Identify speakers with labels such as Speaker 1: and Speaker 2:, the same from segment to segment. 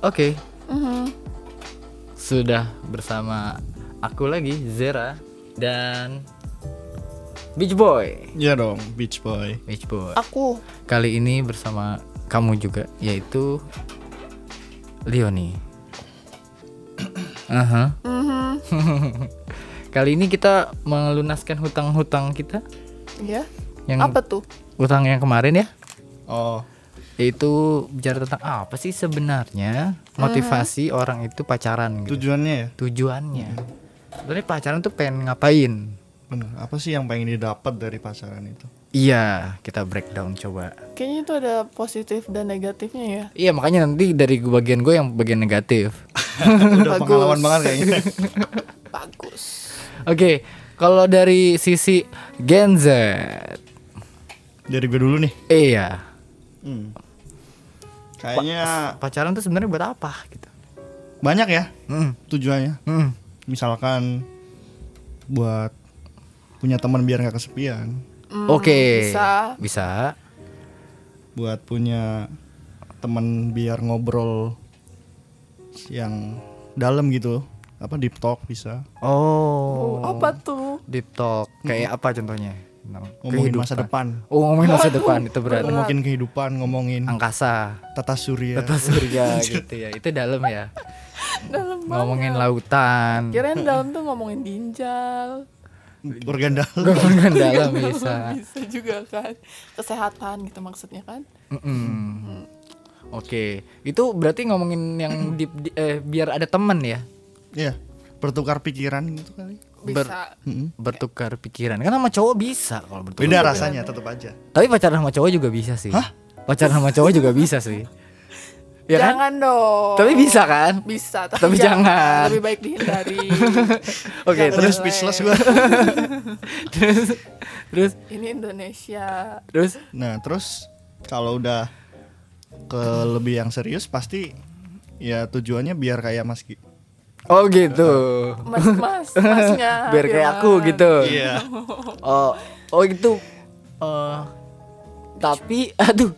Speaker 1: Oke,
Speaker 2: Mhm.
Speaker 1: sudah bersama aku lagi Zera dan Beach Boy.
Speaker 3: Iya dong, Beach Boy.
Speaker 1: Beach Boy.
Speaker 2: Aku
Speaker 1: Kali ini bersama kamu juga yaitu Leoni. Aha.
Speaker 2: Mhm.
Speaker 1: Kali ini kita melunaskan hutang-hutang kita
Speaker 2: ya.
Speaker 1: yang
Speaker 2: Apa tuh?
Speaker 1: hutang yang kemarin ya.
Speaker 3: Oh,
Speaker 1: Yaitu bicara tentang apa sih sebenarnya motivasi orang itu pacaran gitu.
Speaker 3: tujuannya ya?
Speaker 1: Tujuannya. Sebenarnya pacaran tuh pengen ngapain?
Speaker 3: Bener, apa sih yang pengen didapat dari pasaran itu?
Speaker 1: Iya, kita breakdown coba.
Speaker 2: Kayaknya itu ada positif dan negatifnya ya.
Speaker 1: Iya, makanya nanti dari bagian gue yang bagian negatif.
Speaker 3: Udah
Speaker 2: Bagus.
Speaker 3: pengalaman banget kayaknya.
Speaker 2: Bagus.
Speaker 1: Oke, kalau dari sisi Gen Z,
Speaker 3: dari gue dulu nih.
Speaker 1: iya.
Speaker 3: Hmm. Kayaknya
Speaker 1: Pacaran tuh sebenarnya buat apa gitu?
Speaker 3: banyak ya
Speaker 1: Hmm,
Speaker 3: tujuannya.
Speaker 1: hmm.
Speaker 3: Misalkan buat punya teman biar nggak kesepian,
Speaker 2: Hmm,
Speaker 1: Oke.
Speaker 2: Bisa.
Speaker 1: Bisa.
Speaker 3: buat punya teman biar ngobrol yang dalam gitu, apa deep talk bisa.
Speaker 2: Oh,
Speaker 1: Oh.
Speaker 2: apa tuh?
Speaker 1: Deep talk. Kayak apa contohnya? Tentang
Speaker 3: Ngomongin masa
Speaker 1: kehidupan.
Speaker 3: depan,
Speaker 1: Oh, ngomongin masa depan itu berat.
Speaker 3: ngomongin kehidupan, ngomongin
Speaker 1: Angkasa,
Speaker 3: tata surya.
Speaker 1: tata surya gitu ya. Itu dalam ya.
Speaker 2: Dalam banget.
Speaker 1: Ngomongin lautan.
Speaker 2: Kirain dalam tuh ngomongin ginjal.
Speaker 3: Organ dalam.
Speaker 1: Ngomongin dalam bisa.
Speaker 2: Bisa juga kan. Kesehatan gitu maksudnya kan.
Speaker 1: Mm-mm. Oke, itu berarti ngomongin yang di, di- eh, biar ada teman ya
Speaker 3: Iya, bertukar pikiran gitu kali.
Speaker 1: Ber-
Speaker 2: Bisa.
Speaker 1: bertukar pikiran. Kan sama cowok bisa kalau bertukar.
Speaker 3: Beda
Speaker 1: pikiran.
Speaker 3: rasanya tetap aja.
Speaker 1: Tapi pacaran sama cowok juga bisa sih.
Speaker 3: Hah?
Speaker 1: Pacaran sama cowok juga bisa sih. Ya kan?
Speaker 2: jangan dong.
Speaker 1: Tapi bisa kan?
Speaker 2: Bisa, tapi,
Speaker 1: Tapi jangan.
Speaker 2: Lebih baik dihindari.
Speaker 1: Oke,
Speaker 2: Jangan.
Speaker 1: terus
Speaker 3: Terus speechless gua.
Speaker 1: terus terus
Speaker 2: Ini Indonesia.
Speaker 1: terus
Speaker 3: Nah, terus kalau udah ke lebih yang serius pasti ya tujuannya biar kayak Mas Ki.
Speaker 1: Oh gitu.
Speaker 2: Mas, mas, masnya.
Speaker 1: biar kayak aku
Speaker 2: Firman.
Speaker 1: gitu.
Speaker 3: Iya.
Speaker 1: Oh, oh gitu. Eh, tapi aduh,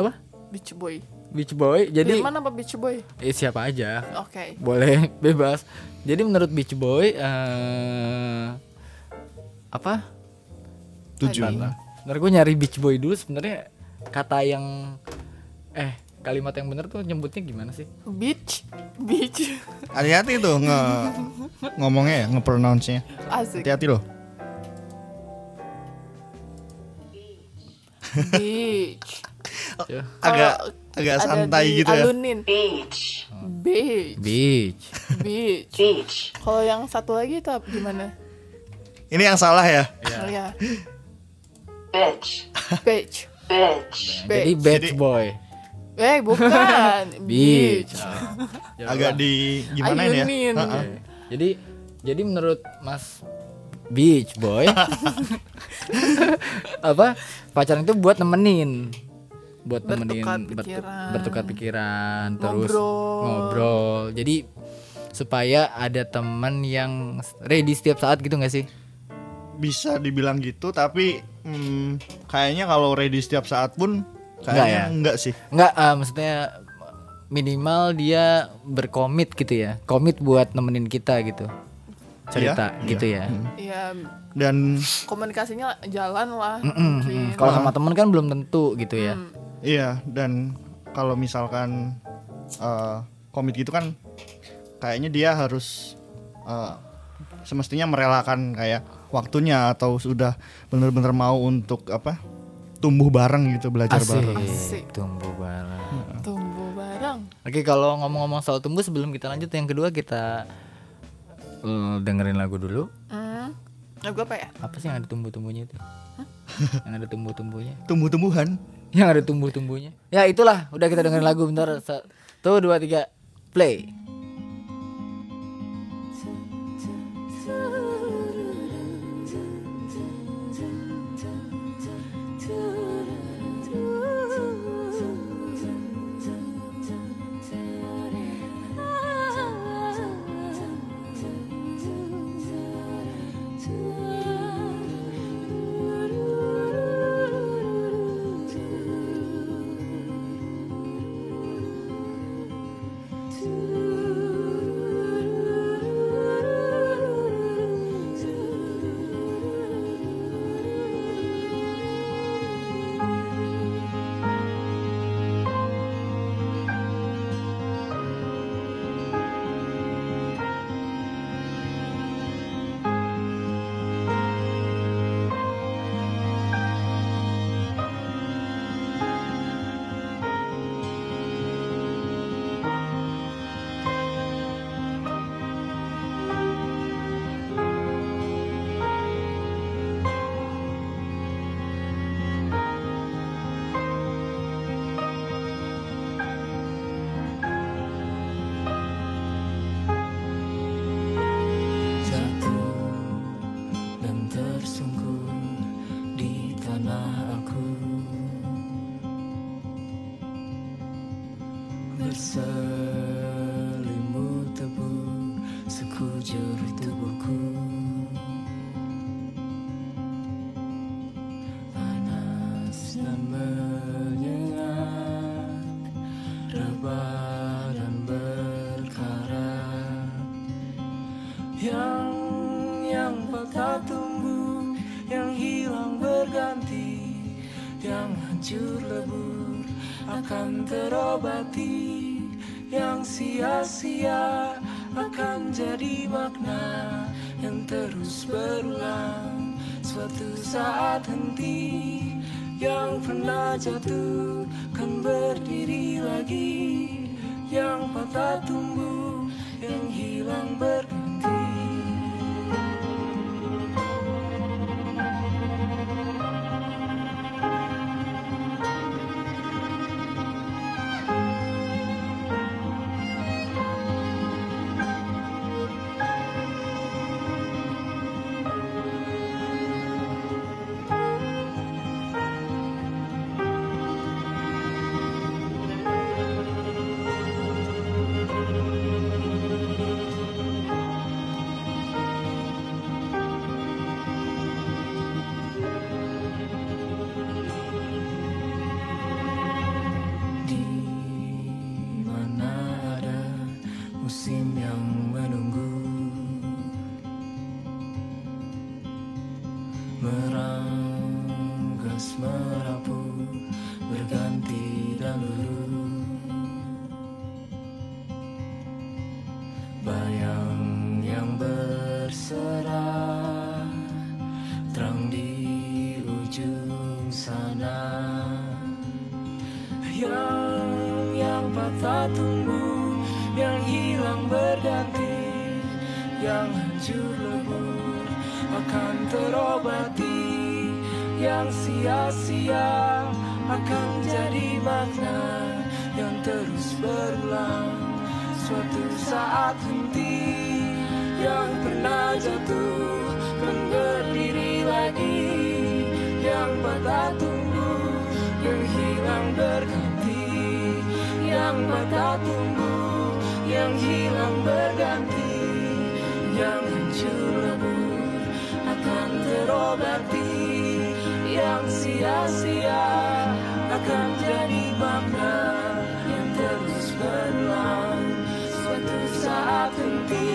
Speaker 1: apa?
Speaker 2: Beach boy.
Speaker 1: Beach boy. Jadi
Speaker 2: Jadi mana apa beach boy?
Speaker 1: eh, siapa aja
Speaker 2: Oke.
Speaker 1: boleh bebas jadi menurut Beach Boy eh apa
Speaker 3: Tujuan.
Speaker 1: ntar gue nyari Beach Boy dulu sebenarnya kata yang eh kalimat yang bener tuh nyebutnya gimana sih
Speaker 2: Beach, beach.
Speaker 3: Hati-hati tuh nge ngomongnya ya, nge-pronounce-nya.
Speaker 2: Asik.
Speaker 3: Hati-hati loh.
Speaker 2: Beach.
Speaker 1: Ya.
Speaker 3: Agak agak santai gitu ya.
Speaker 2: Alunin. Beach.
Speaker 1: Beach
Speaker 2: Beach. Kalau yang satu lagi itu apa- gimana?
Speaker 3: Ini yang salah ya.
Speaker 2: Oh, Ya. Beach. Beach.
Speaker 1: jadi
Speaker 2: Beach.
Speaker 1: Beach Boy
Speaker 2: Eh, bukan.
Speaker 1: Beach Ya Allah.
Speaker 3: Agak di gimana ya?
Speaker 2: Ayunin.
Speaker 3: Heeh.
Speaker 1: Oke. jadi jadi menurut Mas Beach Boy apa pacaran itu buat nemenin buat nemenin
Speaker 2: Bertukar
Speaker 1: bertu-
Speaker 2: pikiran.
Speaker 1: bertukar pikiran terus
Speaker 2: Ngobrol.
Speaker 1: ngobrol jadi supaya ada teman yang ready setiap saat gitu nggak sih
Speaker 3: Bisa dibilang gitu tapi hmm, kayaknya kalau ready setiap saat pun
Speaker 1: ya?
Speaker 3: kayaknya enggak sih.
Speaker 1: nggak ah, maksudnya minimal dia berkomit gitu ya komit buat nemenin kita gitu cerita
Speaker 3: Iya,
Speaker 1: gitu ya
Speaker 2: Ya,
Speaker 3: Dan
Speaker 2: komunikasinya jalan lah. Gitu.
Speaker 1: Mm,
Speaker 2: mungkin.
Speaker 1: mm. kalau sama teman kan belum tentu gitu ya
Speaker 2: Hmm.
Speaker 3: Iya dan kalau misalkan eh, komit gitu kan kayaknya dia harus eh, semestinya merelakan kayak waktunya atau sudah bener-bener mau untuk apa tumbuh bareng gitu belajar bareng.
Speaker 2: Asik.
Speaker 1: tumbuh bareng
Speaker 2: Tumbuh bareng.
Speaker 1: Hmm. Oke kalau ngomong-ngomong soal tumbuh sebelum kita lanjut yang kedua kita eh, dengerin lagu dulu.
Speaker 2: Hmm. Nah, gue apa ya?
Speaker 1: Apa sih yang ada tumbuh-tumbuhnya itu? yang ada tumbuh-tumbuhnya?
Speaker 3: Tumbuh-tumbuhan.
Speaker 1: Yang ada tumbuh-tumbuhnya? Ya itulah udah kita dengerin lagu bentar. Satu dua tiga play.
Speaker 4: Thank you Berselimut tebu sekujur tubuhku Panas dan menyengat Rebah dan berkarat Yang yang patah tumbuh Yang hilang berganti Yang hancur lebur akan terobati Yang sia-sia akan jadi makna Yang terus berulang Suatu saat henti Yang pernah jatuh kan berdiri lagi Yang patah tumbuh Yang hilang berganti Di mana ada musim yang menunggu Meranggas merapu berganti dan luru Bayang yang berserah Terang di ujung sana yang yang patah tumbuh, yang hilang berganti, yang hancur lebur akan terobati, yang sia-sia akan jadi makna, yang terus berulang suatu saat henti, yang pernah jatuh kan berdiri lagi, yang patah tumbuh, yang hilang berganti Yang mata tumbuh, yang hilang berganti Yang hancur lebur akan terobati Yang sia-sia akan jadi makna Yang terus berulang suatu saat henti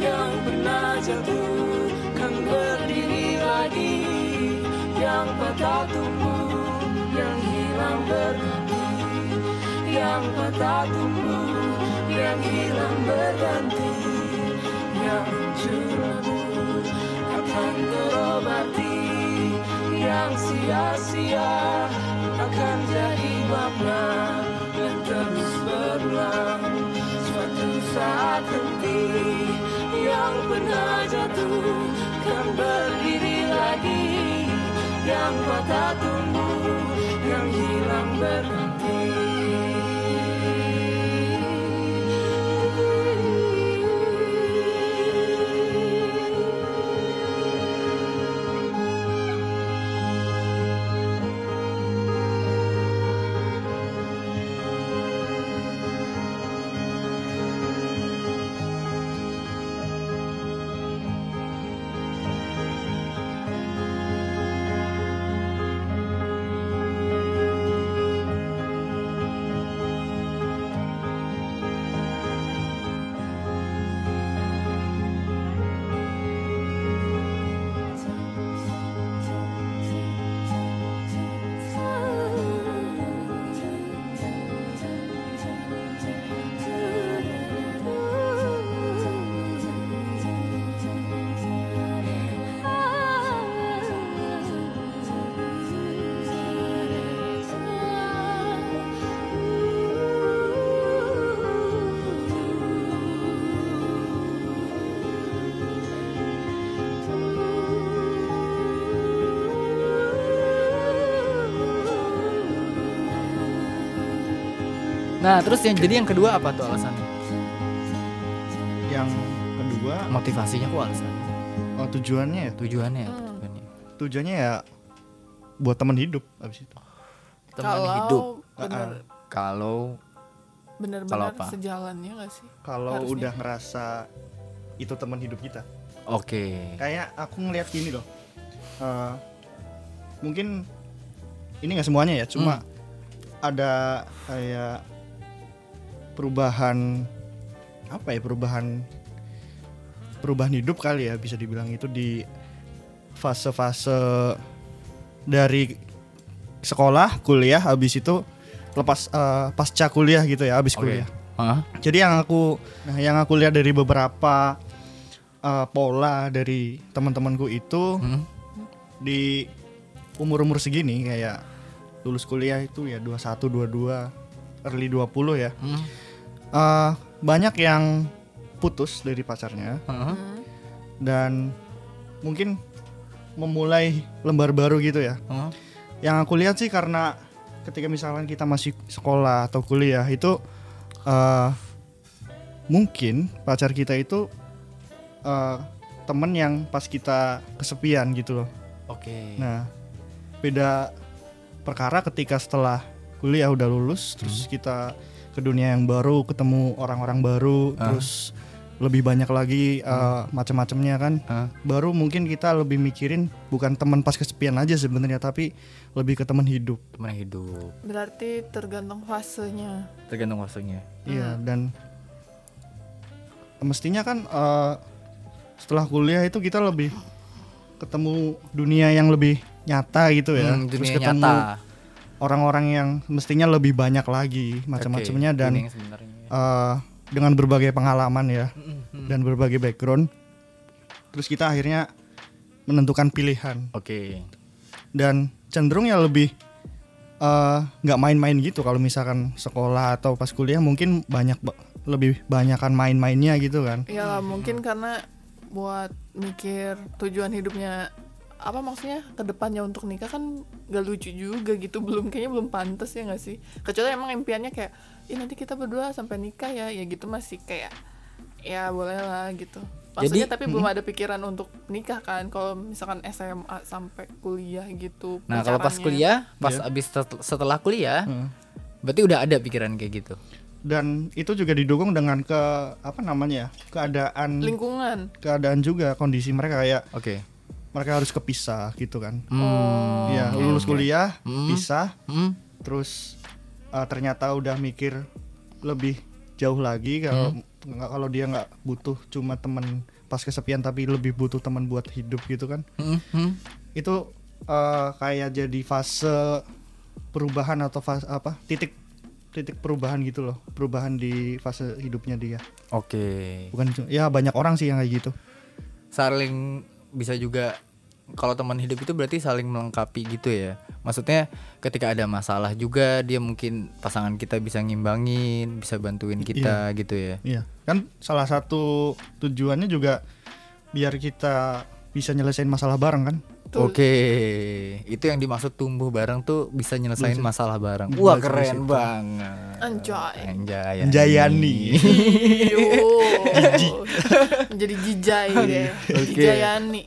Speaker 4: Yang pernah jatuh kan berdiri lagi Yang patah tumbuh, yang hilang berganti Yang patah tumbuh, yang hilang berganti Yang curut akan terobati Yang sia-sia akan jadi makna Dan terus berulang Suatu saat nanti Yang pernah jatuh kan berdiri lagi Yang patah tumbuh, yang hilang berhenti
Speaker 1: Nah, terus yang jadi yang kedua apa tuh alasannya?
Speaker 3: yang kedua
Speaker 1: Motivasinya kok alasannya?
Speaker 3: oh, tujuannya ya tu-
Speaker 1: Tujuannya apa tujuannya?
Speaker 3: tujuannya ya buat teman hidup abis itu
Speaker 1: Teman hidup.
Speaker 2: bener
Speaker 1: Kalau Kalau
Speaker 2: benar-benar
Speaker 1: apa?
Speaker 2: sejalannya gak sih?
Speaker 3: kalau
Speaker 2: Harusnya.
Speaker 3: udah ngerasa itu teman hidup kita
Speaker 1: Oke.
Speaker 3: kayak aku ngelihat gini loh Eh, mungkin ini nggak semuanya ya cuma ada kayak perubahan apa ya perubahan perubahan hidup kali ya bisa dibilang itu di fase-fase dari sekolah kuliah habis itu lepas eh, pasca kuliah gitu ya habis
Speaker 1: Oke.
Speaker 3: kuliah
Speaker 1: Hah?
Speaker 3: jadi yang aku nah yang aku lihat dari beberapa eh, pola dari teman-temanku itu
Speaker 1: Hmm?
Speaker 3: di umur-umur segini kayak lulus kuliah itu ya 21 22 early 20 ya.
Speaker 1: Hmm?
Speaker 3: Eh, banyak yang putus dari pacarnya
Speaker 1: Hah?
Speaker 3: dan mungkin memulai lembar baru gitu ya.
Speaker 1: Hah?
Speaker 3: Yang aku lihat sih karena ketika misalkan kita masih sekolah atau kuliah itu eh, mungkin pacar kita itu eh, temen yang pas kita kesepian gitu loh.
Speaker 1: Oke.
Speaker 3: Nah, beda perkara ketika setelah kuliah udah lulus,
Speaker 1: Hmm.
Speaker 3: terus kita ke dunia yang baru, ketemu orang-orang baru,
Speaker 1: Ah. Hmm.
Speaker 3: terus lebih banyak lagi uh, macam-macamnya kan.
Speaker 1: Hah?
Speaker 3: Baru mungkin kita lebih mikirin bukan teman pas kesepian aja sebenarnya, tapi lebih ke teman hidup.
Speaker 1: Teman hidup.
Speaker 2: Berarti tergantung fasenya.
Speaker 1: Tergantung maksudnya.
Speaker 3: Iya, dan mestinya kan eh, setelah kuliah itu kita lebih ketemu dunia yang lebih nyata gitu ya.
Speaker 1: Hmm,
Speaker 3: terus
Speaker 1: dunia
Speaker 3: ketemu
Speaker 1: nyata.
Speaker 3: orang-orang yang mestinya lebih banyak lagi macam-macamnya
Speaker 1: Oke,
Speaker 3: dan
Speaker 1: ini yang sebenarnya.
Speaker 3: eh, dengan berbagai pengalaman ya
Speaker 1: Mm, mm.
Speaker 3: dan berbagai background. Terus kita akhirnya menentukan pilihan
Speaker 1: Oke.
Speaker 3: dan cenderung ya lebih eh, nggak main-main gitu kalau misalkan sekolah atau pas kuliah mungkin banyak ba- lebih banyakan main-mainnya gitu kan
Speaker 2: Ya
Speaker 1: Hmm.
Speaker 2: mungkin karena buat mikir tujuan hidupnya apa maksudnya kedepannya untuk nikah kan gak lucu juga gitu belum kayaknya belum pantas ya gak sih kecuali emang impiannya kayak ya nanti kita berdua sampai nikah ya ya gitu masih kayak ya boleh lah gitu maksudnya
Speaker 1: Jadi- Hmm.
Speaker 2: tapi belum ada pikiran untuk nikah kan kalau misalkan SMA sampai kuliah gitu
Speaker 1: Nah, kalau pas
Speaker 2: pacarannya.
Speaker 1: kuliah, pas abis setel- setelah kuliah,
Speaker 3: Iya. Hmm.
Speaker 1: berarti udah ada pikiran kayak gitu.
Speaker 3: dan itu juga didukung dengan ke apa namanya ya, keadaan
Speaker 2: lingkungan
Speaker 3: keadaan juga kondisi mereka kayak
Speaker 1: Oke.
Speaker 3: mereka harus kepisah gitu kan
Speaker 1: Hmm.
Speaker 3: Iya, lulus kuliah,
Speaker 1: Hmm.
Speaker 3: pisah,
Speaker 1: Hmm.
Speaker 3: terus uh, ternyata udah mikir lebih jauh lagi kalau nggak kalau dia nggak butuh cuma temen pas kesepian tapi lebih butuh teman buat hidup gitu kan.
Speaker 1: Hmm. Hmm.
Speaker 3: Itu uh, kayak jadi fase perubahan atau fase apa? titik titik perubahan gitu loh. Perubahan di fase hidupnya dia.
Speaker 1: Oke.
Speaker 3: Bukan cu- ya banyak orang sih yang kayak gitu.
Speaker 1: Saling bisa juga kalau teman hidup itu berarti saling melengkapi gitu ya. Maksudnya ketika ada masalah juga dia mungkin pasangan kita bisa ngimbangin, bisa bantuin kita gitu ya.
Speaker 3: Iya, kan salah satu tujuannya juga biar kita bisa nyelesain masalah bareng kan.
Speaker 2: Betul.
Speaker 1: Oke, itu yang dimaksud tumbuh bareng tuh bisa nyelesain masalah bareng.
Speaker 3: Bisa
Speaker 1: Wah
Speaker 3: di
Speaker 1: keren
Speaker 3: situ.
Speaker 1: banget.
Speaker 2: Anjay. Iya,
Speaker 1: Anjay.
Speaker 3: Anjayani.
Speaker 2: Iyo. Jadi jijai deh. Jijayani.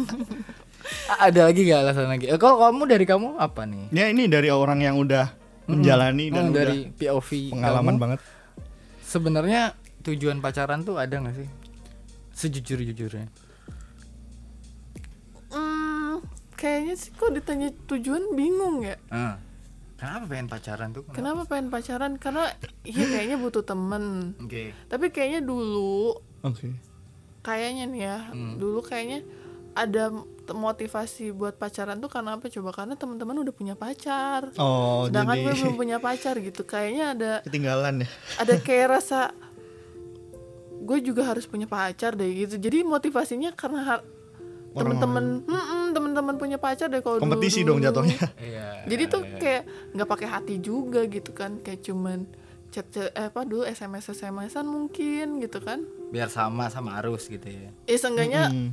Speaker 1: Ada lagi gak alasan lagi? Eh, Kalau kamu dari kamu apa nih?
Speaker 3: Ya ini dari orang yang udah menjalani dan
Speaker 2: Mm,
Speaker 1: Hmm,
Speaker 3: udah
Speaker 1: dari POV
Speaker 3: pengalaman
Speaker 1: kamu,
Speaker 3: banget.
Speaker 1: Sebenarnya tujuan pacaran tuh ada nggak sih? Sejujur-jujurnya.
Speaker 2: Hmm, kayaknya sih kok ditanya tujuan bingung ya.
Speaker 1: Ah. Kenapa pengen pacaran tuh?
Speaker 2: Kenapa pengen pacaran? Karena iya kayaknya butuh temen.
Speaker 1: Oke.
Speaker 2: Tapi kayaknya dulu,
Speaker 3: Oke.
Speaker 2: kayaknya nih ya,
Speaker 3: Hmm.
Speaker 2: dulu kayaknya ada t- motivasi buat pacaran tuh karena apa coba? Karena teman-teman udah punya pacar.
Speaker 3: Oh,
Speaker 2: Sedangkan
Speaker 3: jadi
Speaker 2: gue belum punya pacar gitu. Kayaknya ada
Speaker 3: ketinggalan ya.
Speaker 2: ada kayak rasa gue juga harus punya pacar deh gitu jadi motivasinya karena har-
Speaker 3: Orang
Speaker 2: temen-temen Mm-mm, temen-temen punya pacar deh kalau dulu-
Speaker 3: Kompetisi
Speaker 2: dulu.
Speaker 3: dong jatuhnya.
Speaker 1: Iya.
Speaker 2: jadi tuh kayak nggak pakai hati juga gitu kan kayak cuman chat chat- eh, apa dulu sms smsan mungkin gitu kan
Speaker 1: Biar sama sama arus gitu ya.
Speaker 2: ya seenggaknya
Speaker 3: Hmm.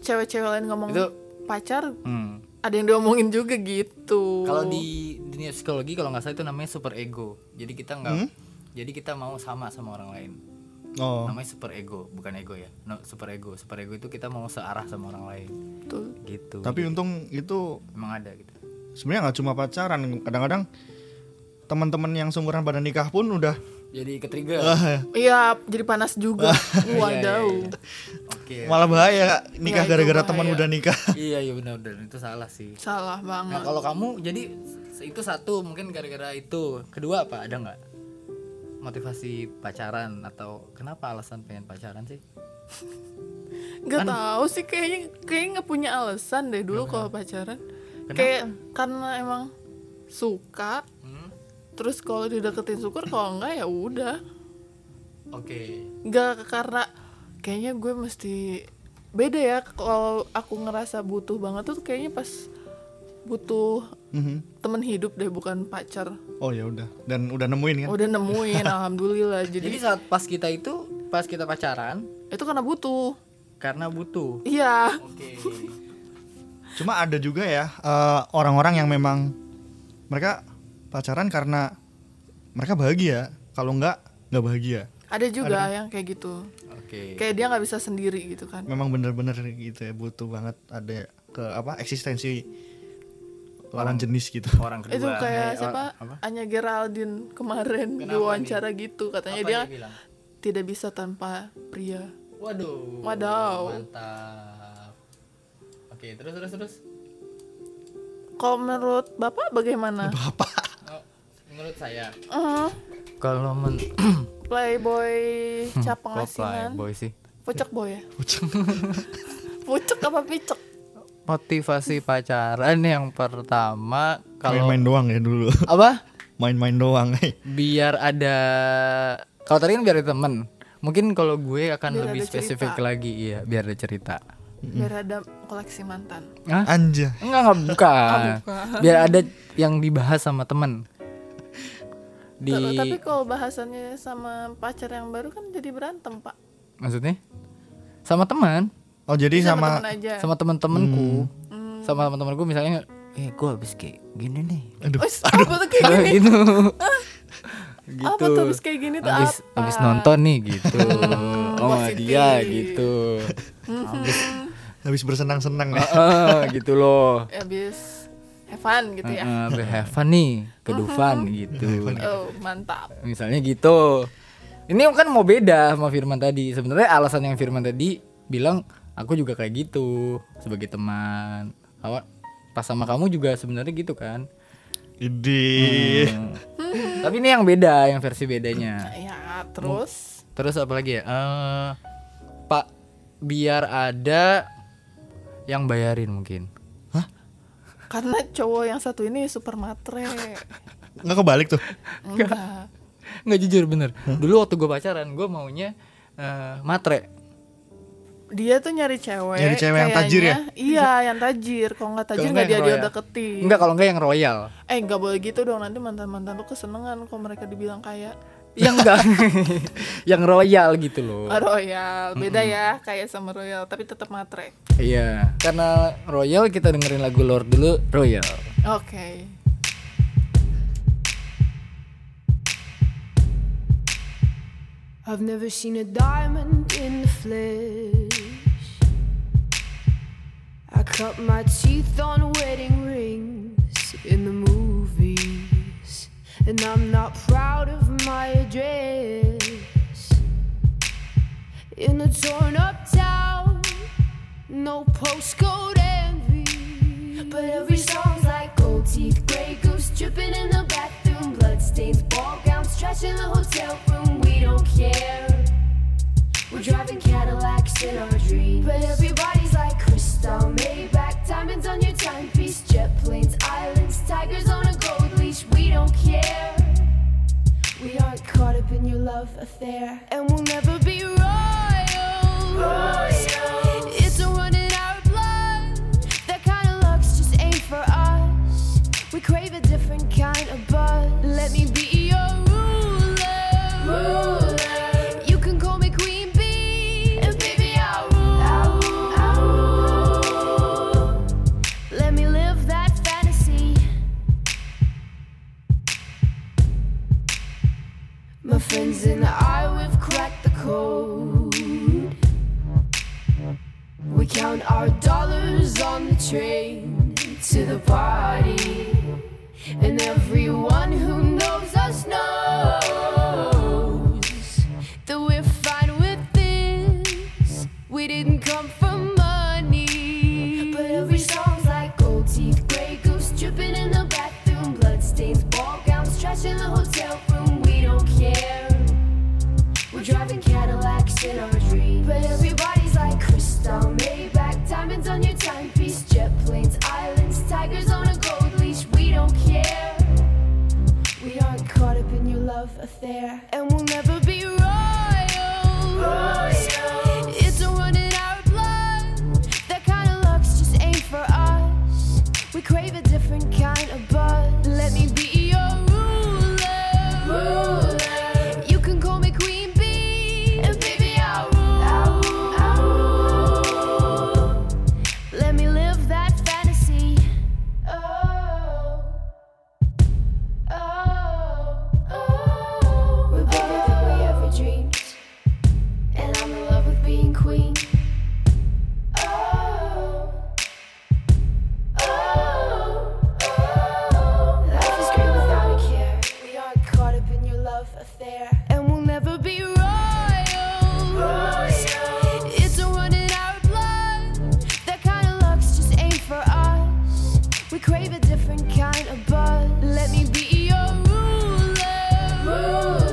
Speaker 2: cewek-cewek lain ngomong
Speaker 1: Itu-
Speaker 2: pacar
Speaker 1: Hmm.
Speaker 2: ada yang diomongin juga gitu
Speaker 1: Kalau
Speaker 3: Oh.
Speaker 1: di dunia psikologi kalau nggak salah itu namanya super ego. Jadi kita nggak, jadi kita mau sama sama orang lain.
Speaker 3: Hmm? Oh,
Speaker 1: Namanya super ego, bukan ego ya. No, super ego. Super ego itu kita mau searah sama orang lain.
Speaker 2: Betul.
Speaker 1: Gitu.
Speaker 3: tapi untung itu
Speaker 1: emang ada gitu.
Speaker 3: sebenarnya nggak cuma pacaran, kadang-kadang teman-teman yang seumuran pada nikah pun udah
Speaker 1: Jadi ke trigger.
Speaker 3: Ah.
Speaker 2: Iya, jadi panas juga.
Speaker 1: Iya,
Speaker 2: Waduh.
Speaker 1: Oke.
Speaker 3: malah bahaya Kak, nikah
Speaker 2: Nah, Iya. itu
Speaker 3: gara-gara
Speaker 2: bahaya.
Speaker 3: teman udah nikah.
Speaker 1: Iya iya benar benar itu salah sih.
Speaker 2: Salah
Speaker 1: Nah,
Speaker 2: banget.
Speaker 1: kalau kamu jadi se- itu satu mungkin gara-gara itu. Kedua apa? Ada nggak? Motivasi pacaran atau kenapa alasan pengen pacaran sih?
Speaker 2: Gak tahu sih kayaknya kayaknya nggak punya alasan deh dulu kalau pacaran. Kayak karena emang suka.
Speaker 1: Hmm?
Speaker 2: Terus kalau dideketin syukur kalau enggak ya udah.
Speaker 1: Oke.
Speaker 2: Gak karena kayaknya gue mesti beda ya kalau aku ngerasa butuh banget tuh kayaknya pas butuh
Speaker 3: Mhm.
Speaker 2: temen hidup deh bukan pacar.
Speaker 3: Oh ya udah dan udah nemuin kan.
Speaker 2: Udah nemuin alhamdulillah. Iya.
Speaker 1: Jadi
Speaker 2: Jadi
Speaker 1: saat pas kita itu pas kita pacaran
Speaker 2: itu karena butuh.
Speaker 1: karena butuh.
Speaker 2: Iya.
Speaker 1: Oke.
Speaker 3: Cuma ada juga ya eh, orang-orang yang memang mereka pacaran karena mereka bahagia. Kalau enggak nggak bahagia.
Speaker 2: Ada juga yang kayak gitu.
Speaker 1: Oke.
Speaker 2: Kayak dia nggak bisa sendiri gitu kan.
Speaker 3: Memang bener-bener gitu ya butuh banget ada ke apa eksistensi lawan jenis gitu.
Speaker 1: Orang kedua.
Speaker 2: itu kayak
Speaker 1: eh,
Speaker 2: siapa?
Speaker 1: or- apa?
Speaker 2: Anya Geraldine kemarin
Speaker 1: Kenapa
Speaker 2: diwawancara gitu katanya
Speaker 1: Apa
Speaker 2: dia,
Speaker 1: dia bilang?
Speaker 2: tidak bisa tanpa pria.
Speaker 1: Waduh.
Speaker 2: Wadaw.
Speaker 1: Mantap. Oke, terus terus terus.
Speaker 2: Kalau menurut Bapak bagaimana?
Speaker 1: Oh, menurut saya.
Speaker 2: Eh,
Speaker 1: Kalau men
Speaker 2: playboy capang
Speaker 1: Hmm, Kok
Speaker 2: asingan.
Speaker 1: playboy sih.
Speaker 2: Pucek boy ya? Pucek apa picek?
Speaker 1: Motivasi pacaran yang pertama kalau
Speaker 3: Main-main doang ya dulu.
Speaker 1: apa?
Speaker 3: Main-main doang.
Speaker 1: Biar ada kalau tadi kan biar ada temen Mungkin kalau gue akan
Speaker 2: Biar ada
Speaker 1: lebih
Speaker 2: cerita.
Speaker 1: spesifik lagi iya, biar ada cerita.
Speaker 2: Biar ada koleksi mantan.
Speaker 1: Hah?
Speaker 3: Anja.
Speaker 1: Enggak, enggak
Speaker 2: Oh,
Speaker 1: bukan. Biar ada yang dibahas sama temen Di
Speaker 2: Tuh, Tapi kalau bahasannya sama pacar yang baru kan jadi berantem pak.
Speaker 1: maksudnya sama teman.
Speaker 3: Oh jadi
Speaker 2: Sama
Speaker 3: sama
Speaker 2: temen aja.
Speaker 1: sama temen-temenku sama temen-temenku misalnya eh gue habis kayak gini nih
Speaker 3: aduh.
Speaker 2: Wis, apa tuh kayak
Speaker 1: Kayak
Speaker 2: gini? Ah,
Speaker 1: gitu
Speaker 2: Apa tuh habis kayak gini tuh
Speaker 1: habis
Speaker 2: apa?
Speaker 1: habis nonton nih gitu oh sama
Speaker 2: positif.
Speaker 1: dia gitu habis
Speaker 3: Habis bersenang-senang ya.
Speaker 1: eh, gitu loh
Speaker 2: Habis have fun gitu ya.
Speaker 1: Eh, eh, have fun nih ke Dufan gitu
Speaker 2: Oh mantap.
Speaker 1: misalnya gitu ini kan mau beda sama Firman tadi sebenarnya alasan yang Firman tadi bilang aku juga kayak gitu sebagai teman awak pas sama kamu juga sebenarnya gitu kan
Speaker 3: Idi.
Speaker 1: Hmm. Tapi ini yang beda, yang versi bedanya.
Speaker 2: Ya terus
Speaker 1: Terus apa lagi ya? Eh, Pak, biar ada yang bayarin mungkin.
Speaker 2: karena cowok yang satu ini super matre.
Speaker 3: Nggak kebalik tuh.
Speaker 2: Enggak.
Speaker 1: Nggak jujur bener. Dulu waktu gue pacaran, gue maunya eh, matre.
Speaker 2: Dia tuh nyari cewek.
Speaker 3: Nyari cewek yang tajir ya?
Speaker 2: kayaknya. Iya, yang tajir. Kalau nggak tajir
Speaker 1: Kalau
Speaker 2: nggak dia
Speaker 1: yang
Speaker 2: dia
Speaker 1: royal.
Speaker 2: deketin.
Speaker 1: Enggak, kalau enggak yang royal.
Speaker 2: Eh nggak boleh gitu dong nanti mantan mantan lu kesenangan kalau mereka dibilang kayak
Speaker 1: Yang enggak, yang royal gitu loh.
Speaker 2: "Ah, royal. Beda ya kayak sama royal tapi tetap matre.
Speaker 1: Iya, karena royal kita dengerin lagu Lord dulu, royal.
Speaker 2: Oke.
Speaker 5: I've never seen a diamond in the flesh. I cut my teeth on wedding rings in the movies, and I'm not proud of my address. In a torn up town, no postcode envy.
Speaker 6: But every song's like gold teeth, gray goose dripping in the bathroom, bloodstains, ball gowns, trash in the hotel room. We don't care. We're driving Cadillacs in our dreams. But everybody's like crystal, Maybach, diamonds on your timepiece, jet planes, islands, tigers on a gold leash. We don't care.
Speaker 5: We aren't caught up in your love affair, and we'll never be royal.
Speaker 6: Royals.
Speaker 5: It's a run in our blood. That kind of luck's just ain't for us. We crave a different kind of buzz. Let me be your ruler.
Speaker 6: Ruler.
Speaker 5: You can call me Queen Bee, and baby I'll rule. Let me live that fantasy. My friends and I, we've cracked the code. We count our dollars on the train to the party. And everyone who knows
Speaker 6: there.
Speaker 5: and we'll never be royals. It's a run in our blood. That kind of luck's just ain't for us. We crave a different kind of buzz. Let me be your ruler. You can call me Queen Bee, and baby I'll rule. Let me live that fantasy. Oh. Oh. Oh.
Speaker 6: We're bigger than we ever dreamed. And I'm in love with being queen. Oh. Oh. Oh. Life is great without a care. We aren't caught up in your love affair.
Speaker 5: and we'll never be royals. It's a run in our blood. That kind of luck's just ain't for us. We crave a different kind of buzz. Let me be your ruler.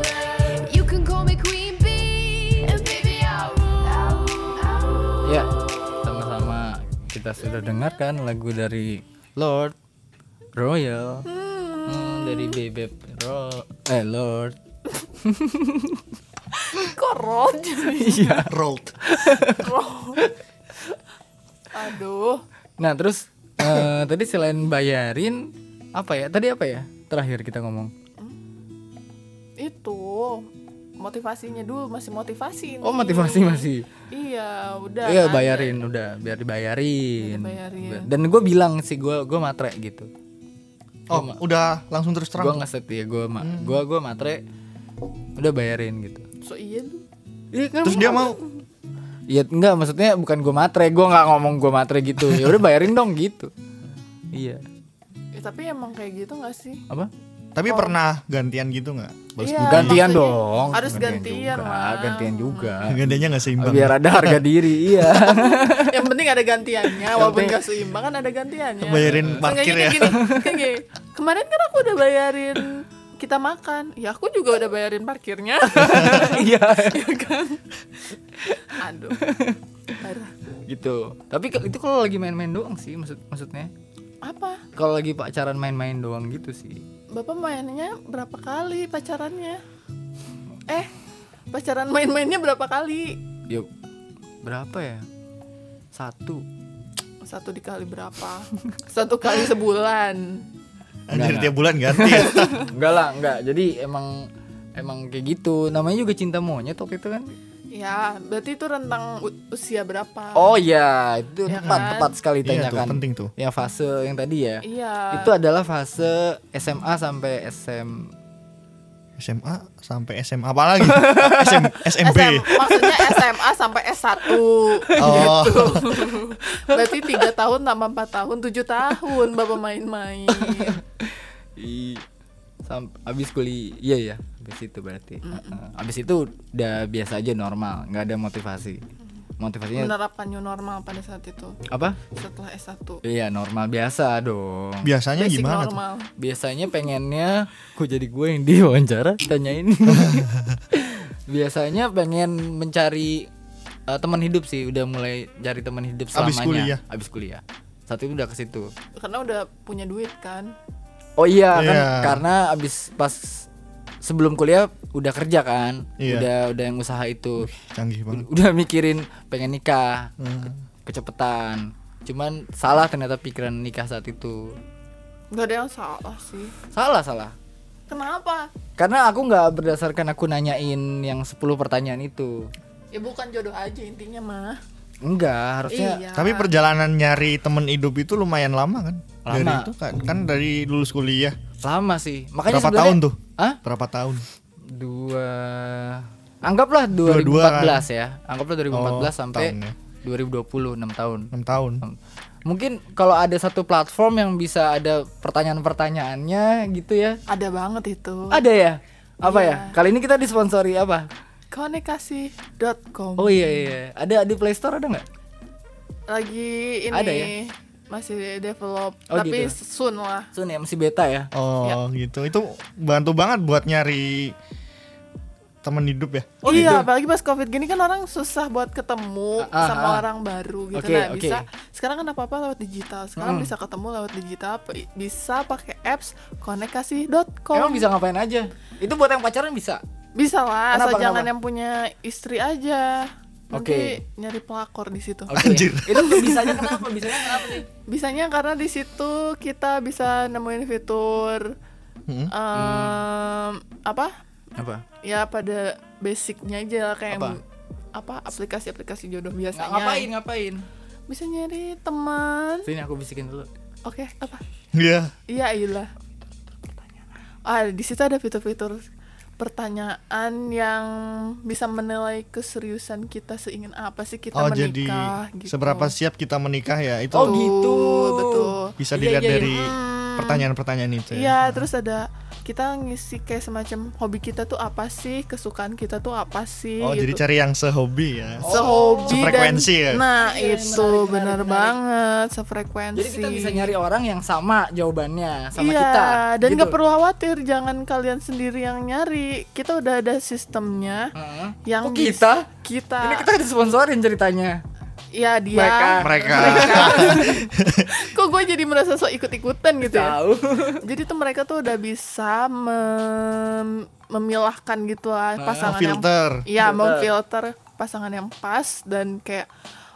Speaker 5: You can call me Queen Bee, and baby I'll rule.
Speaker 1: Ya, sama-sama kita sudah dengarkan lagu dari Lord Royal Hmm, dari Bebep Ro eh Lord.
Speaker 2: Korot
Speaker 1: Iya.
Speaker 3: rolled
Speaker 2: Aduh
Speaker 1: nah, terus eh, tadi selain bayarin apa ya? Tadi apa ya? Terakhir kita ngomong.
Speaker 2: Itu Motivasinya dulu Masih motivasi
Speaker 1: Oh,
Speaker 2: nih.
Speaker 1: motivasi masih.
Speaker 2: Iya udah
Speaker 1: Iya,
Speaker 2: kan?
Speaker 1: bayarin udah biar dibayarin.
Speaker 2: Biar dibayarin.
Speaker 1: Dan gue bilang sih gue gue matre gitu.
Speaker 3: oh udah langsung terus
Speaker 1: Gue
Speaker 3: terang
Speaker 1: ngeset ya gue ma gue gue matre udah bayarin gitu.
Speaker 2: So iya
Speaker 1: Iya kan
Speaker 3: terus dia mau
Speaker 1: Iya enggak maksudnya bukan gue matre, gue nggak ngomong gue matre gitu. Ya udah bayarin dong gitu. Iya.
Speaker 2: Ya, Tapi emang kayak gitu gak sih
Speaker 1: Apa?
Speaker 3: tapi pernah gantian gitu nggak Balas
Speaker 2: Iya,
Speaker 3: budi.
Speaker 1: Gantian
Speaker 2: maksudnya
Speaker 1: dong.
Speaker 2: harus gantian
Speaker 1: juga,
Speaker 2: lah.
Speaker 1: Gantian juga.
Speaker 3: gantiannya nggak seimbang
Speaker 1: Biar ada harga diri, iya.
Speaker 2: Yang penting ada gantiannya Walaupun
Speaker 1: penting-
Speaker 2: gak seimbang kan ada gantiannya
Speaker 3: bayarin parkir
Speaker 2: Seenggaknya
Speaker 3: ya
Speaker 2: kayak gini, kayak gini. Kemarin kan aku udah bayarin kita makan. Ya aku juga udah bayarin parkirnya.
Speaker 1: Iya.
Speaker 2: ya kan. Aduh. Parah.
Speaker 1: gitu. Tapi ke- itu kalau lagi main-main doang sih maksud maksudnya.
Speaker 2: Apa?
Speaker 1: Kalau lagi pacaran main-main doang gitu sih.
Speaker 2: Bapak mainnya berapa kali pacarannya? Eh, pacaran main-mainnya berapa kali?
Speaker 1: Yuk. Ya, Berapa ya? Satu.
Speaker 2: Satu dikali berapa? Satu kali sebulan.
Speaker 3: anjir
Speaker 1: Enggak,
Speaker 3: tiap bulan ganti ya.
Speaker 1: enggak lah, enggak. Jadi emang emang kayak gitu. Namanya juga cinta monyet waktu itu kan.
Speaker 2: Ya, berarti itu rentang u- usia berapa?
Speaker 1: Oh iya, itu
Speaker 2: Ya
Speaker 1: tepat
Speaker 2: kan?
Speaker 1: tepat sekali
Speaker 3: Iya
Speaker 1: tanyakan.
Speaker 3: tuh, penting tuh.
Speaker 1: Yang fase yang tadi ya.
Speaker 2: Iya.
Speaker 1: Itu adalah fase SMA sampai SM
Speaker 3: SMA sampai SMA apa lagi SM, SMB
Speaker 2: SM, maksudnya SMA sampai S1
Speaker 3: Oh.
Speaker 2: gitu. Berarti 3 tahun tambah 4 tahun 7 tahun Bapak main-main
Speaker 1: i sam, abis kuliah. Iya ya, abis itu berarti. Heeh. Abis itu udah biasa aja normal, nggak ada motivasi.
Speaker 3: Iya.
Speaker 1: Motivasinya
Speaker 2: Menerapkan new normal pada saat itu
Speaker 1: apa?
Speaker 2: Setelah S1
Speaker 1: Iya, normal biasa dong.
Speaker 3: biasanya
Speaker 2: Basic
Speaker 3: gimana tuh
Speaker 2: normal
Speaker 1: biasanya pengennya kok jadi gue yang diwawancara tanyain biasanya pengen mencari eh, teman hidup sih udah mulai cari teman hidup selamanya
Speaker 3: Abis kuliah.
Speaker 1: abis kuliah saat itu udah ke situ
Speaker 2: Karena udah punya duit kan
Speaker 1: oh iya kan
Speaker 3: Iya.
Speaker 1: karena abis pas sebelum kuliah udah kerja kan
Speaker 3: Iya.
Speaker 1: udah udah yang usaha itu
Speaker 3: canggih banget Hmm.
Speaker 1: udah mikirin pengen nikah kecepetan cuman salah ternyata pikiran nikah saat itu
Speaker 2: Gak ada yang salah sih
Speaker 1: salah salah
Speaker 2: Kenapa?
Speaker 1: Karena aku nggak berdasarkan aku nanyain yang 10 pertanyaan itu.
Speaker 2: Ya bukan jodoh aja intinya mah
Speaker 1: Enggak, harusnya
Speaker 2: Iya
Speaker 3: tapi perjalanan nyari temen hidup itu lumayan lama kan dari
Speaker 1: Lama.
Speaker 3: itu kan kan dari lulus kuliah
Speaker 1: lama sih. Makanya
Speaker 3: Berapa
Speaker 1: sebenarnya-
Speaker 3: tahun tuh?
Speaker 1: Hah?
Speaker 3: berapa tahun
Speaker 1: Dua Anggaplah
Speaker 3: 22 kan?
Speaker 1: 2014 ya. Anggaplah 2014
Speaker 3: Oh,
Speaker 1: sampai
Speaker 3: tahunnya.
Speaker 1: 2020 6 tahun.
Speaker 3: 6 tahun
Speaker 1: Mungkin kalau ada satu platform yang bisa ada pertanyaan-pertanyaannya gitu ya.
Speaker 2: Ada banget itu
Speaker 1: Ada ya? Apa ya? Kali ini kita disponsori apa?
Speaker 2: Konekasi.com
Speaker 1: Oh iya iya. Ada di Play Store ada nggak?
Speaker 2: Lagi ini
Speaker 1: Ada ya?
Speaker 2: Masih develop
Speaker 1: Oh,
Speaker 2: Tapi
Speaker 1: gitu.
Speaker 2: soon lah
Speaker 1: Sun ya masih beta ya.
Speaker 3: oh gitu itu bantu banget buat nyari teman hidup ya
Speaker 2: Oh iya, apalagi pas covid gini kan orang susah buat ketemu
Speaker 1: gitu? Ah, ah,
Speaker 2: sama
Speaker 1: ah.
Speaker 2: orang baru gitu
Speaker 1: Oke,
Speaker 2: nah
Speaker 1: oke. Hmm.
Speaker 2: bisa sekarang kan apa apa lewat digital sekarang bisa ketemu lewat digital p- bisa pakai apps konekasi.com
Speaker 1: Emang bisa ngapain aja? Itu buat yang pacaran bisa.
Speaker 2: bisa lah asal
Speaker 1: Kenapa,
Speaker 2: jangan
Speaker 1: kenapa?
Speaker 2: yang punya istri aja nanti
Speaker 1: Oke.
Speaker 2: nyari pelakor di situ
Speaker 1: Oke.
Speaker 3: Anjir.
Speaker 1: Itu bisanya kenapa? Bisanya kenapa sih?
Speaker 2: bisanya karena di situ kita bisa nemuin fitur
Speaker 1: Hmm.
Speaker 3: Hmm.
Speaker 2: em, apa
Speaker 1: Apa?
Speaker 2: ya pada basicnya aja kayak
Speaker 1: Apa?
Speaker 2: apa aplikasi-aplikasi jodoh biasanya
Speaker 1: ngapain? Ngapain?
Speaker 2: bisa nyari teman
Speaker 1: Sini aku bisikin dulu.
Speaker 2: oke apa
Speaker 3: iya
Speaker 2: iya iyalah ah di situ ada fitur-fitur pertanyaan yang bisa menilai keseriusan kita seingin apa sih kita
Speaker 3: oh jadi
Speaker 2: menikah gitu.
Speaker 3: seberapa siap kita menikah ya itu
Speaker 1: Oh, gitu.
Speaker 2: betul
Speaker 3: bisa
Speaker 1: Iya,
Speaker 3: dilihat
Speaker 1: iya, iya.
Speaker 3: dari pertanyaan-pertanyaan itu ya.
Speaker 2: Iya, terus ada kita ngisi kayak semacam hobi kita tuh apa sih, kesukaan kita tuh apa sih
Speaker 3: oh jadi
Speaker 2: gitu. Oh,
Speaker 3: cari yang sehobi ya
Speaker 2: Sehobi
Speaker 3: Sefrekuensi ya?
Speaker 2: dan, Nah, itu
Speaker 1: Iya, menarik, menarik,
Speaker 2: benar
Speaker 1: menarik.
Speaker 2: banget sefrekuensi.
Speaker 1: Jadi kita bisa nyari orang yang sama jawabannya sama
Speaker 2: iya,
Speaker 1: kita.
Speaker 2: dan
Speaker 1: gitu.
Speaker 2: nggak perlu khawatir, jangan kalian sendiri yang nyari. Kita udah ada sistemnya
Speaker 1: Heeh.
Speaker 2: yang
Speaker 1: Kok
Speaker 2: bis-
Speaker 1: kita?
Speaker 2: kita,
Speaker 1: Ini kita disponsorin ceritanya.
Speaker 2: ya dia.
Speaker 1: Mereka.
Speaker 3: mereka
Speaker 2: Kok gue jadi merasa so ikut-ikutan gitu ya?
Speaker 1: Tahu.
Speaker 2: Jadi tuh mereka tuh udah bisa mem- memilahkan gitu lah pasangan yang
Speaker 3: Ah. filter.
Speaker 2: Iya, memfilter pasangan yang pas dan kayak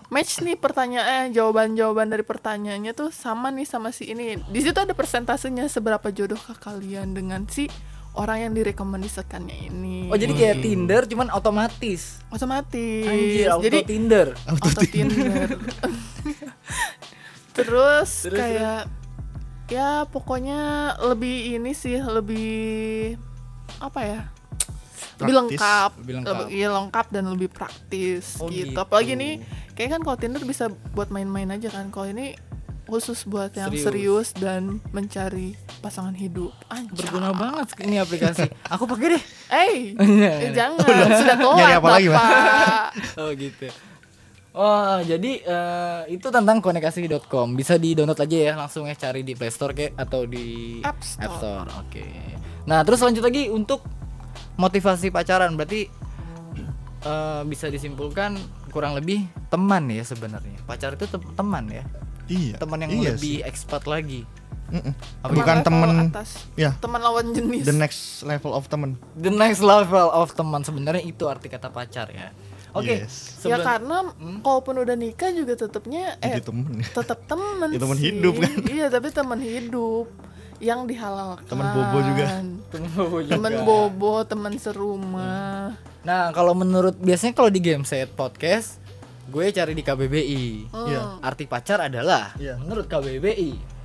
Speaker 2: match nih pertanyaan eh, jawaban-jawaban dari pertanyaannya tuh sama nih sama si ini. Di situ ada persentasenya seberapa jodohkah kalian dengan si orang yang direkomendasikannya ini.
Speaker 1: Oh jadi kayak Tinder cuman otomatis.
Speaker 2: otomatis.
Speaker 1: Anjir, auto
Speaker 2: jadi
Speaker 1: Tinder.
Speaker 2: auto Tinder. terus, kayak ya pokoknya lebih ini sih lebih apa ya? Lebih
Speaker 3: Praktis,
Speaker 2: lengkap,
Speaker 1: lebih lengkap.
Speaker 2: Lebih- iya, lengkap dan lebih praktis
Speaker 1: Oh,
Speaker 2: gitu.
Speaker 1: gitu.
Speaker 2: Apalagi nih kayak kan kalau Tinder bisa buat main-main aja kan. Kalau ini khusus buat yang serius,
Speaker 1: Serius.
Speaker 2: dan mencari pasangan hidup. Anjay.
Speaker 1: Berguna banget ini aplikasi. Aku pakai deh.
Speaker 2: Eh, eh, jangan sudah
Speaker 3: Nyari
Speaker 2: telat
Speaker 3: apa lagi, Pak?
Speaker 2: Bapak.
Speaker 1: Oh gitu. Oh jadi eh, itu tentang konekasi.com bisa di download aja ya langsung ya cari di Play Store kayak atau di
Speaker 2: App Store.
Speaker 1: Oke. Nah terus lanjut lagi untuk motivasi pacaran berarti eh, bisa disimpulkan kurang lebih teman ya sebenarnya pacar itu tem- teman ya
Speaker 3: iya
Speaker 1: teman yang
Speaker 3: iya
Speaker 1: lebih expert lagi.
Speaker 3: sih. Mm-mm.
Speaker 1: Apa
Speaker 3: bukan
Speaker 2: level
Speaker 3: temen
Speaker 2: atas.
Speaker 3: ya
Speaker 2: teman lawan jenis
Speaker 3: the next level of temen
Speaker 1: The next level of teman sebenarnya itu arti kata pacar ya. Oke.
Speaker 3: Yes.
Speaker 2: ya
Speaker 1: sebelum-
Speaker 2: karena
Speaker 3: Hmm?
Speaker 2: kalaupun udah nikah juga tetapnya eh
Speaker 3: jadi temen
Speaker 2: tetap temen
Speaker 3: Gitu. Ya, temen
Speaker 2: sih.
Speaker 3: hidup kan.
Speaker 2: iya tapi temen hidup yang dihalalkan
Speaker 3: Temen bobo juga.
Speaker 1: Temen bobo juga.
Speaker 2: temen bobo temen serumah
Speaker 1: Nah, kalau menurut biasanya kalau di game set podcast, gue cari di KBBI.
Speaker 3: Iya.
Speaker 1: Arti pacar adalah
Speaker 3: Iya.
Speaker 1: menurut KBBI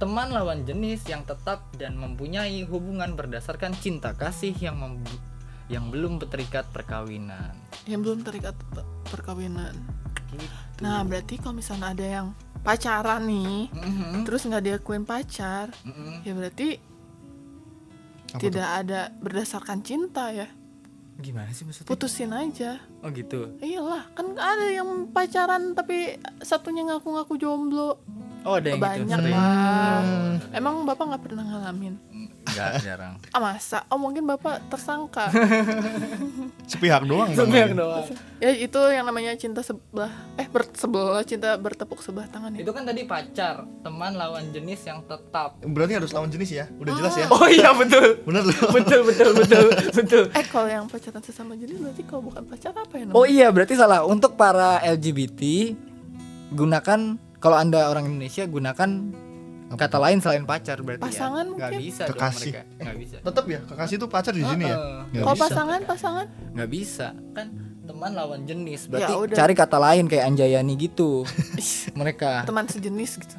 Speaker 1: teman lawan jenis yang tetap dan mempunyai hubungan berdasarkan cinta kasih yang membu- yang belum terikat perkawinan.
Speaker 2: yang belum terikat per- perkawinan
Speaker 1: Gitu.
Speaker 2: nah berarti kalau misalnya ada yang pacaran nih
Speaker 3: Hmm?
Speaker 1: Mhm,
Speaker 2: terus nggak diakuin pacar
Speaker 1: mhm.
Speaker 2: ya berarti
Speaker 3: Apa
Speaker 2: tidak ada berdasarkan cinta ya
Speaker 1: Gimana sih maksudnya?
Speaker 2: putusin aja
Speaker 1: Oh gitu.
Speaker 2: iyalah kan ada yang pacaran tapi satunya ngaku-ngaku jomblo
Speaker 1: Oh, ada yang
Speaker 2: banyak
Speaker 1: gitu.
Speaker 2: lah emang bapak nggak pernah ngalamin
Speaker 1: Enggak jarang.
Speaker 2: ah masa oh mungkin bapak tersangka
Speaker 3: sepihak doang Iya.
Speaker 1: Sebanyak
Speaker 3: namanya.
Speaker 1: doang.
Speaker 2: ya itu yang namanya cinta sebelah eh ber sebelah cinta bertepuk sebelah tangan ya
Speaker 1: Itu kan tadi pacar, teman lawan jenis yang tetap.
Speaker 3: berarti harus lawan jenis ya udah jelas ya
Speaker 1: Oh iya betul.
Speaker 3: bener loh
Speaker 1: Betul betul betul betul.
Speaker 2: eh kalau yang pacaran sesama jenis berarti kalau bukan pacar apa ya
Speaker 1: Oh
Speaker 2: namanya?
Speaker 1: iya, berarti salah. Untuk para LGBT gunakan kalau Anda orang Indonesia gunakan kata lain selain pacar berarti ya.
Speaker 2: Pasangan
Speaker 1: Nggak
Speaker 2: mungkin?
Speaker 1: bisa
Speaker 3: Kekasih.
Speaker 1: dong mereka. Nggak bisa.
Speaker 3: tetap ya kekasih tuh pacar di sini ya
Speaker 1: Heeh.
Speaker 3: Nggak
Speaker 2: Uh-uh. kalau
Speaker 3: bisa.
Speaker 2: pasangan pasangan
Speaker 1: Nggak bisa. Kan teman lawan jenis. Berarti
Speaker 2: Ya udah.
Speaker 1: cari kata lain kayak Anjayani gitu. mereka.
Speaker 2: teman sejenis gitu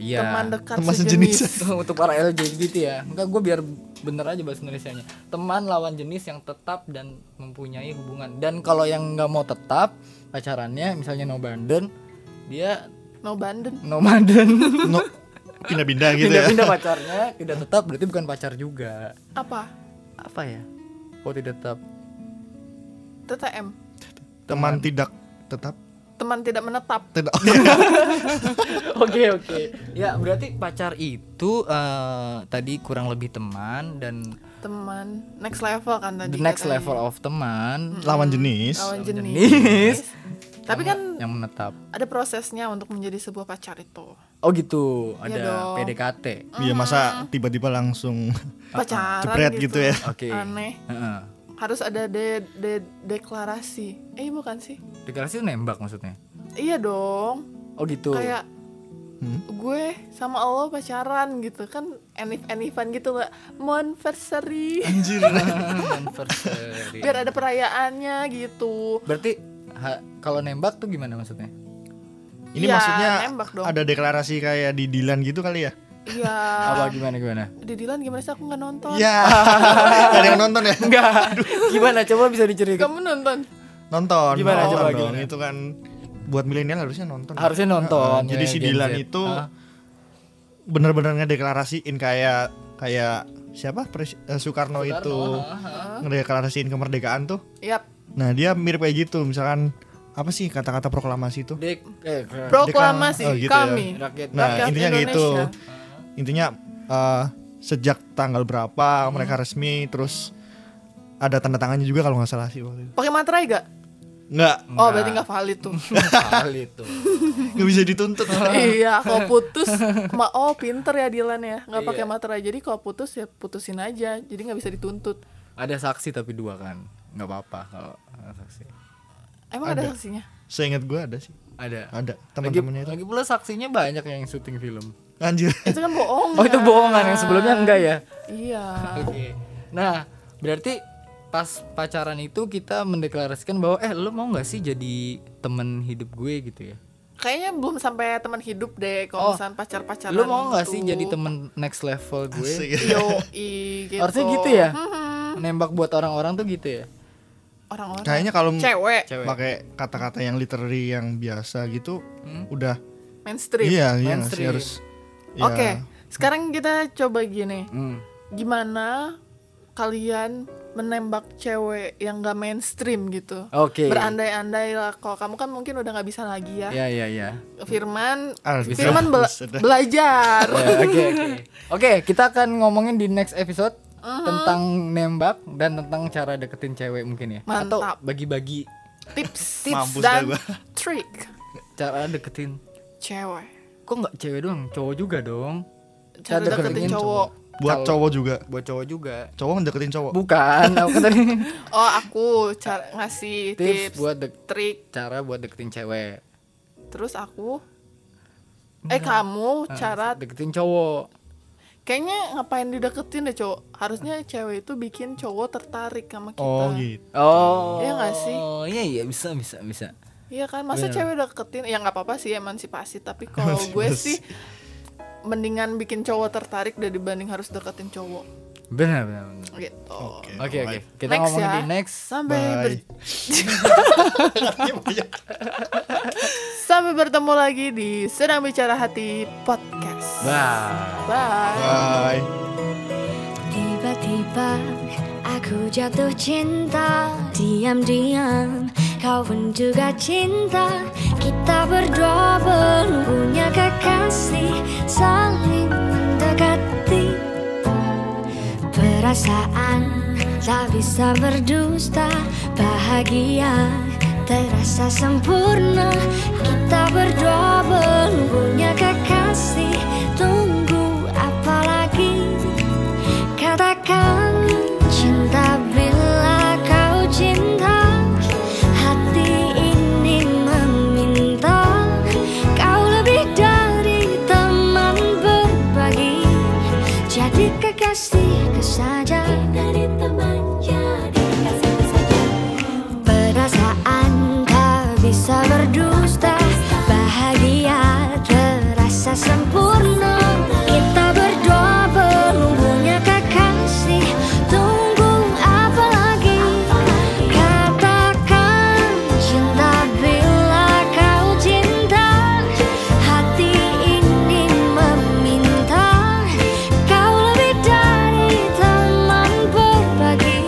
Speaker 1: Iya.
Speaker 2: teman dekat
Speaker 3: Teman
Speaker 2: sejenis,
Speaker 3: sejenis.
Speaker 1: Untuk para LGBT ya. Enggak gue biar bener aja bahasa Indonesianya. Teman lawan jenis yang tetap dan mempunyai hubungan. Dan kalau yang nggak mau tetap pacarannya misalnya no banden dia
Speaker 2: no banden
Speaker 1: nomaden
Speaker 3: No, pindah-pindah gitu ya
Speaker 1: pindah-pindah pacarnya tidak tetap berarti bukan pacar juga
Speaker 2: apa
Speaker 1: apa ya kok tidak tetap
Speaker 2: TTM
Speaker 3: teman tidak tetap
Speaker 2: teman tidak menetap
Speaker 3: Tidak.
Speaker 1: Oke oke. Ya berarti pacar itu eh, tadi kurang lebih teman dan
Speaker 2: teman next level kan tadi
Speaker 1: the next
Speaker 2: katanya.
Speaker 1: level of teman
Speaker 3: Lawan jenis.
Speaker 2: lawan jenis,
Speaker 1: jenis.
Speaker 2: tapi kan
Speaker 1: yang menetap.
Speaker 2: ada prosesnya untuk menjadi sebuah pacar itu
Speaker 1: Oh gitu,
Speaker 2: Iya
Speaker 1: ada
Speaker 2: dong.
Speaker 1: PDKT.
Speaker 3: Iya masa tiba-tiba langsung
Speaker 2: pacaran
Speaker 3: Jepret gitu ya.
Speaker 1: Oke.
Speaker 2: aneh
Speaker 1: Heeh.
Speaker 2: harus ada de, de- deklarasi eh bukan sih
Speaker 1: Deklarasi itu nembak maksudnya.
Speaker 2: iya dong
Speaker 1: Oh gitu.
Speaker 2: kayak
Speaker 3: Hmm?
Speaker 2: gue sama Allah pacaran gitu kan enif enifan gitu lah monversary
Speaker 3: anjir.
Speaker 1: Anniversary.
Speaker 2: biar ada perayaannya gitu
Speaker 1: Berarti ha- kalau nembak tuh gimana maksudnya?
Speaker 3: Ini
Speaker 2: Iya,
Speaker 3: maksudnya
Speaker 2: nembak dong.
Speaker 3: ada deklarasi kayak di Dilan gitu kali ya?
Speaker 2: iya
Speaker 1: Apa gimana gimana?
Speaker 2: di Dilan gimana sih aku nggak nonton
Speaker 3: Iya. ada yang nonton ya?
Speaker 1: Enggak. gimana coba bisa diceritain?
Speaker 2: kamu nonton
Speaker 3: Nonton.
Speaker 1: Gimana,
Speaker 3: nonton
Speaker 1: coba,
Speaker 3: dong.
Speaker 1: gimana?
Speaker 3: Itu kan buat milenial harusnya nonton.
Speaker 1: Harusnya nonton.
Speaker 3: Heeh, Jadi
Speaker 1: ya,
Speaker 3: si
Speaker 1: Gen
Speaker 3: Dilan
Speaker 1: Z.
Speaker 3: itu
Speaker 1: Ah.
Speaker 3: bener-bener ngedeklarasiin kayak kayak siapa Pres- eh, Soekarno, itu ngedeklarasiin kemerdekaan tuh.
Speaker 2: yap
Speaker 3: Nah, dia mirip kayak gitu. Misalkan apa sih kata-kata proklamasi itu?
Speaker 1: Dek, eh,
Speaker 2: proklamasi
Speaker 3: Oh, gitu ya.
Speaker 2: kami
Speaker 1: rakyat
Speaker 3: Nah,
Speaker 2: Rakyat
Speaker 3: intinya gitu.
Speaker 2: Indonesia.
Speaker 3: Intinya eh, sejak tanggal berapa
Speaker 1: Hmm.
Speaker 3: mereka resmi terus ada tanda tangannya juga kalau nggak salah sih waktu itu.
Speaker 2: pakai materai gak
Speaker 3: Nggak,
Speaker 2: oh berarti nggak valid tuh
Speaker 1: Nah. kali itu. Hmm.
Speaker 3: nggak bisa dituntut.
Speaker 1: Oh,
Speaker 2: iya kalau putus ma oh pinter ya Dilan ya nggak
Speaker 1: Iya.
Speaker 2: pakai materai jadi kalau putus ya putusin aja jadi nggak bisa dituntut
Speaker 1: Ada saksi tapi dua kan. nggak apa-apa kalau ada saksi.
Speaker 2: emang ada,
Speaker 3: Ada.
Speaker 2: saksinya
Speaker 3: Seingat gue ada sih.
Speaker 1: Ada.
Speaker 3: Ada
Speaker 1: Lagi,
Speaker 3: teman-temannya itu.
Speaker 1: lagi pula saksinya banyak yang syuting film.
Speaker 3: Anjir.
Speaker 2: itu kan bohong
Speaker 1: Oh, itu bohongan yang sebelumnya enggak ya?
Speaker 2: iya
Speaker 1: Oke. Nah, berarti pas pacaran itu kita mendeklarasikan bahwa eh lu mau nggak sih jadi temen hidup gue gitu ya?
Speaker 2: kayaknya belum sampai teman hidup deh
Speaker 1: Oh,
Speaker 2: kalau misalnya pacar pacaran
Speaker 1: Lu mau nggak sih jadi temen next level gue?
Speaker 3: Asik.
Speaker 2: yo gitu
Speaker 1: Harusnya gitu ya?
Speaker 2: Mhm.
Speaker 1: Nembak buat orang-orang tuh gitu ya?
Speaker 2: orang-orang
Speaker 3: Kayaknya kalau m-
Speaker 2: cewek
Speaker 1: Cewek.
Speaker 3: pakai kata-kata yang literary yang biasa gitu udah
Speaker 2: Hmm? mainstream
Speaker 3: iya iya nggak sih
Speaker 1: Mainstream.
Speaker 3: harus ya.
Speaker 2: oke sekarang kita coba gini
Speaker 1: Hmm.
Speaker 2: gimana kalian menembak cewek yang gak mainstream gitu
Speaker 1: Oke.
Speaker 2: berandai-andai lah kalau kamu kan mungkin udah nggak bisa lagi ya
Speaker 1: Ya ya ya.
Speaker 2: Firman
Speaker 3: Ah, bisa.
Speaker 2: Firman bela-
Speaker 3: Bisa dah.
Speaker 2: belajar
Speaker 1: Ya, Oke oke. Oke, kita akan ngomongin di next episode
Speaker 2: Uh-huh.
Speaker 1: tentang nembak dan tentang cara deketin cewek mungkin ya. Atau
Speaker 2: Mantap.
Speaker 1: bagi-bagi
Speaker 2: tips tips
Speaker 3: Mampus
Speaker 2: dan
Speaker 3: dah gua.
Speaker 2: trick
Speaker 1: cara deketin
Speaker 2: cewek
Speaker 1: kok nggak cewek doang, cowok juga dong.
Speaker 2: cara
Speaker 1: Cara
Speaker 2: deketin
Speaker 1: deketin
Speaker 2: cowok
Speaker 3: buat
Speaker 1: Kalau-
Speaker 3: cowok juga
Speaker 1: Buat cowok juga.
Speaker 3: cowok ngedeketin cowok
Speaker 1: Bukan, aku tadi
Speaker 2: oh aku cara ngasih
Speaker 1: tips
Speaker 2: tips,
Speaker 1: buat dek-
Speaker 2: trik
Speaker 1: cara buat deketin cewek.
Speaker 2: terus aku eh kamu
Speaker 1: Nah,
Speaker 2: cara
Speaker 1: deketin cowok.
Speaker 2: kayaknya ngapain dideketin deh cowok harusnya cewek itu bikin cowok tertarik sama kita
Speaker 3: oh gitu
Speaker 1: Oh.
Speaker 2: Iya nggak sih?
Speaker 1: Iya iya bisa bisa bisa.
Speaker 2: Iya kan, masa
Speaker 1: Bener.
Speaker 2: cewek deketin? Ya nggak apa-apa sih emansipasi, tapi kalau gue sih mendingan bikin cowok tertarik dari dibanding harus deketin cowok
Speaker 1: Benar benar. benar.
Speaker 2: gitu.
Speaker 3: oke
Speaker 1: Oke oke.
Speaker 3: alright.
Speaker 1: Kita
Speaker 2: Next
Speaker 1: ngomongin
Speaker 2: ya.
Speaker 1: di next.
Speaker 2: Sampai
Speaker 3: Bye.
Speaker 2: ber- sampai bertemu lagi di Sedang Bicara Hati podcast.
Speaker 1: Bye.
Speaker 2: Bye.
Speaker 3: bye
Speaker 4: Tiba-tiba aku jatuh cinta Diam-diam kau pun juga cinta Kita berdua belum punya kekasih Saling mendekati Perasaan tak bisa berdusta Bahagia terasa sempurna Kita berdua belum punya kekasih Tunggu apa lagi Katakan cinta bila kau cinta Hati ini meminta Kau lebih dari teman berbagi Jadi kekasih kesaja Dari teman jadi kasih kesaja Perasaan tak bisa berdusta Bahagia terasa sempurna Kita berdua belum punya kekasih Tunggu apa lagi Katakan cinta bila kau cinta Hati ini meminta Kau lebih dari teman berbagi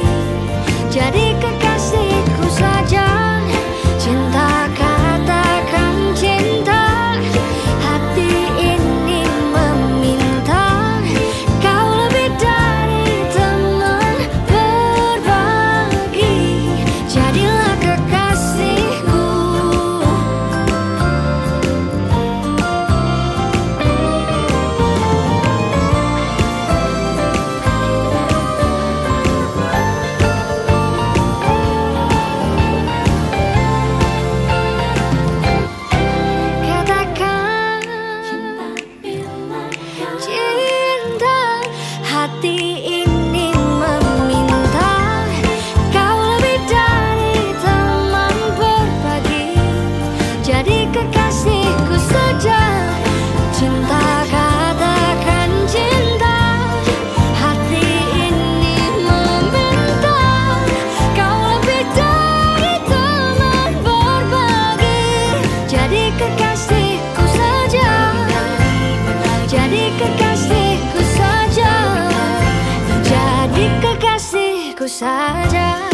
Speaker 4: kekasihku saja Jadi kekasihku saja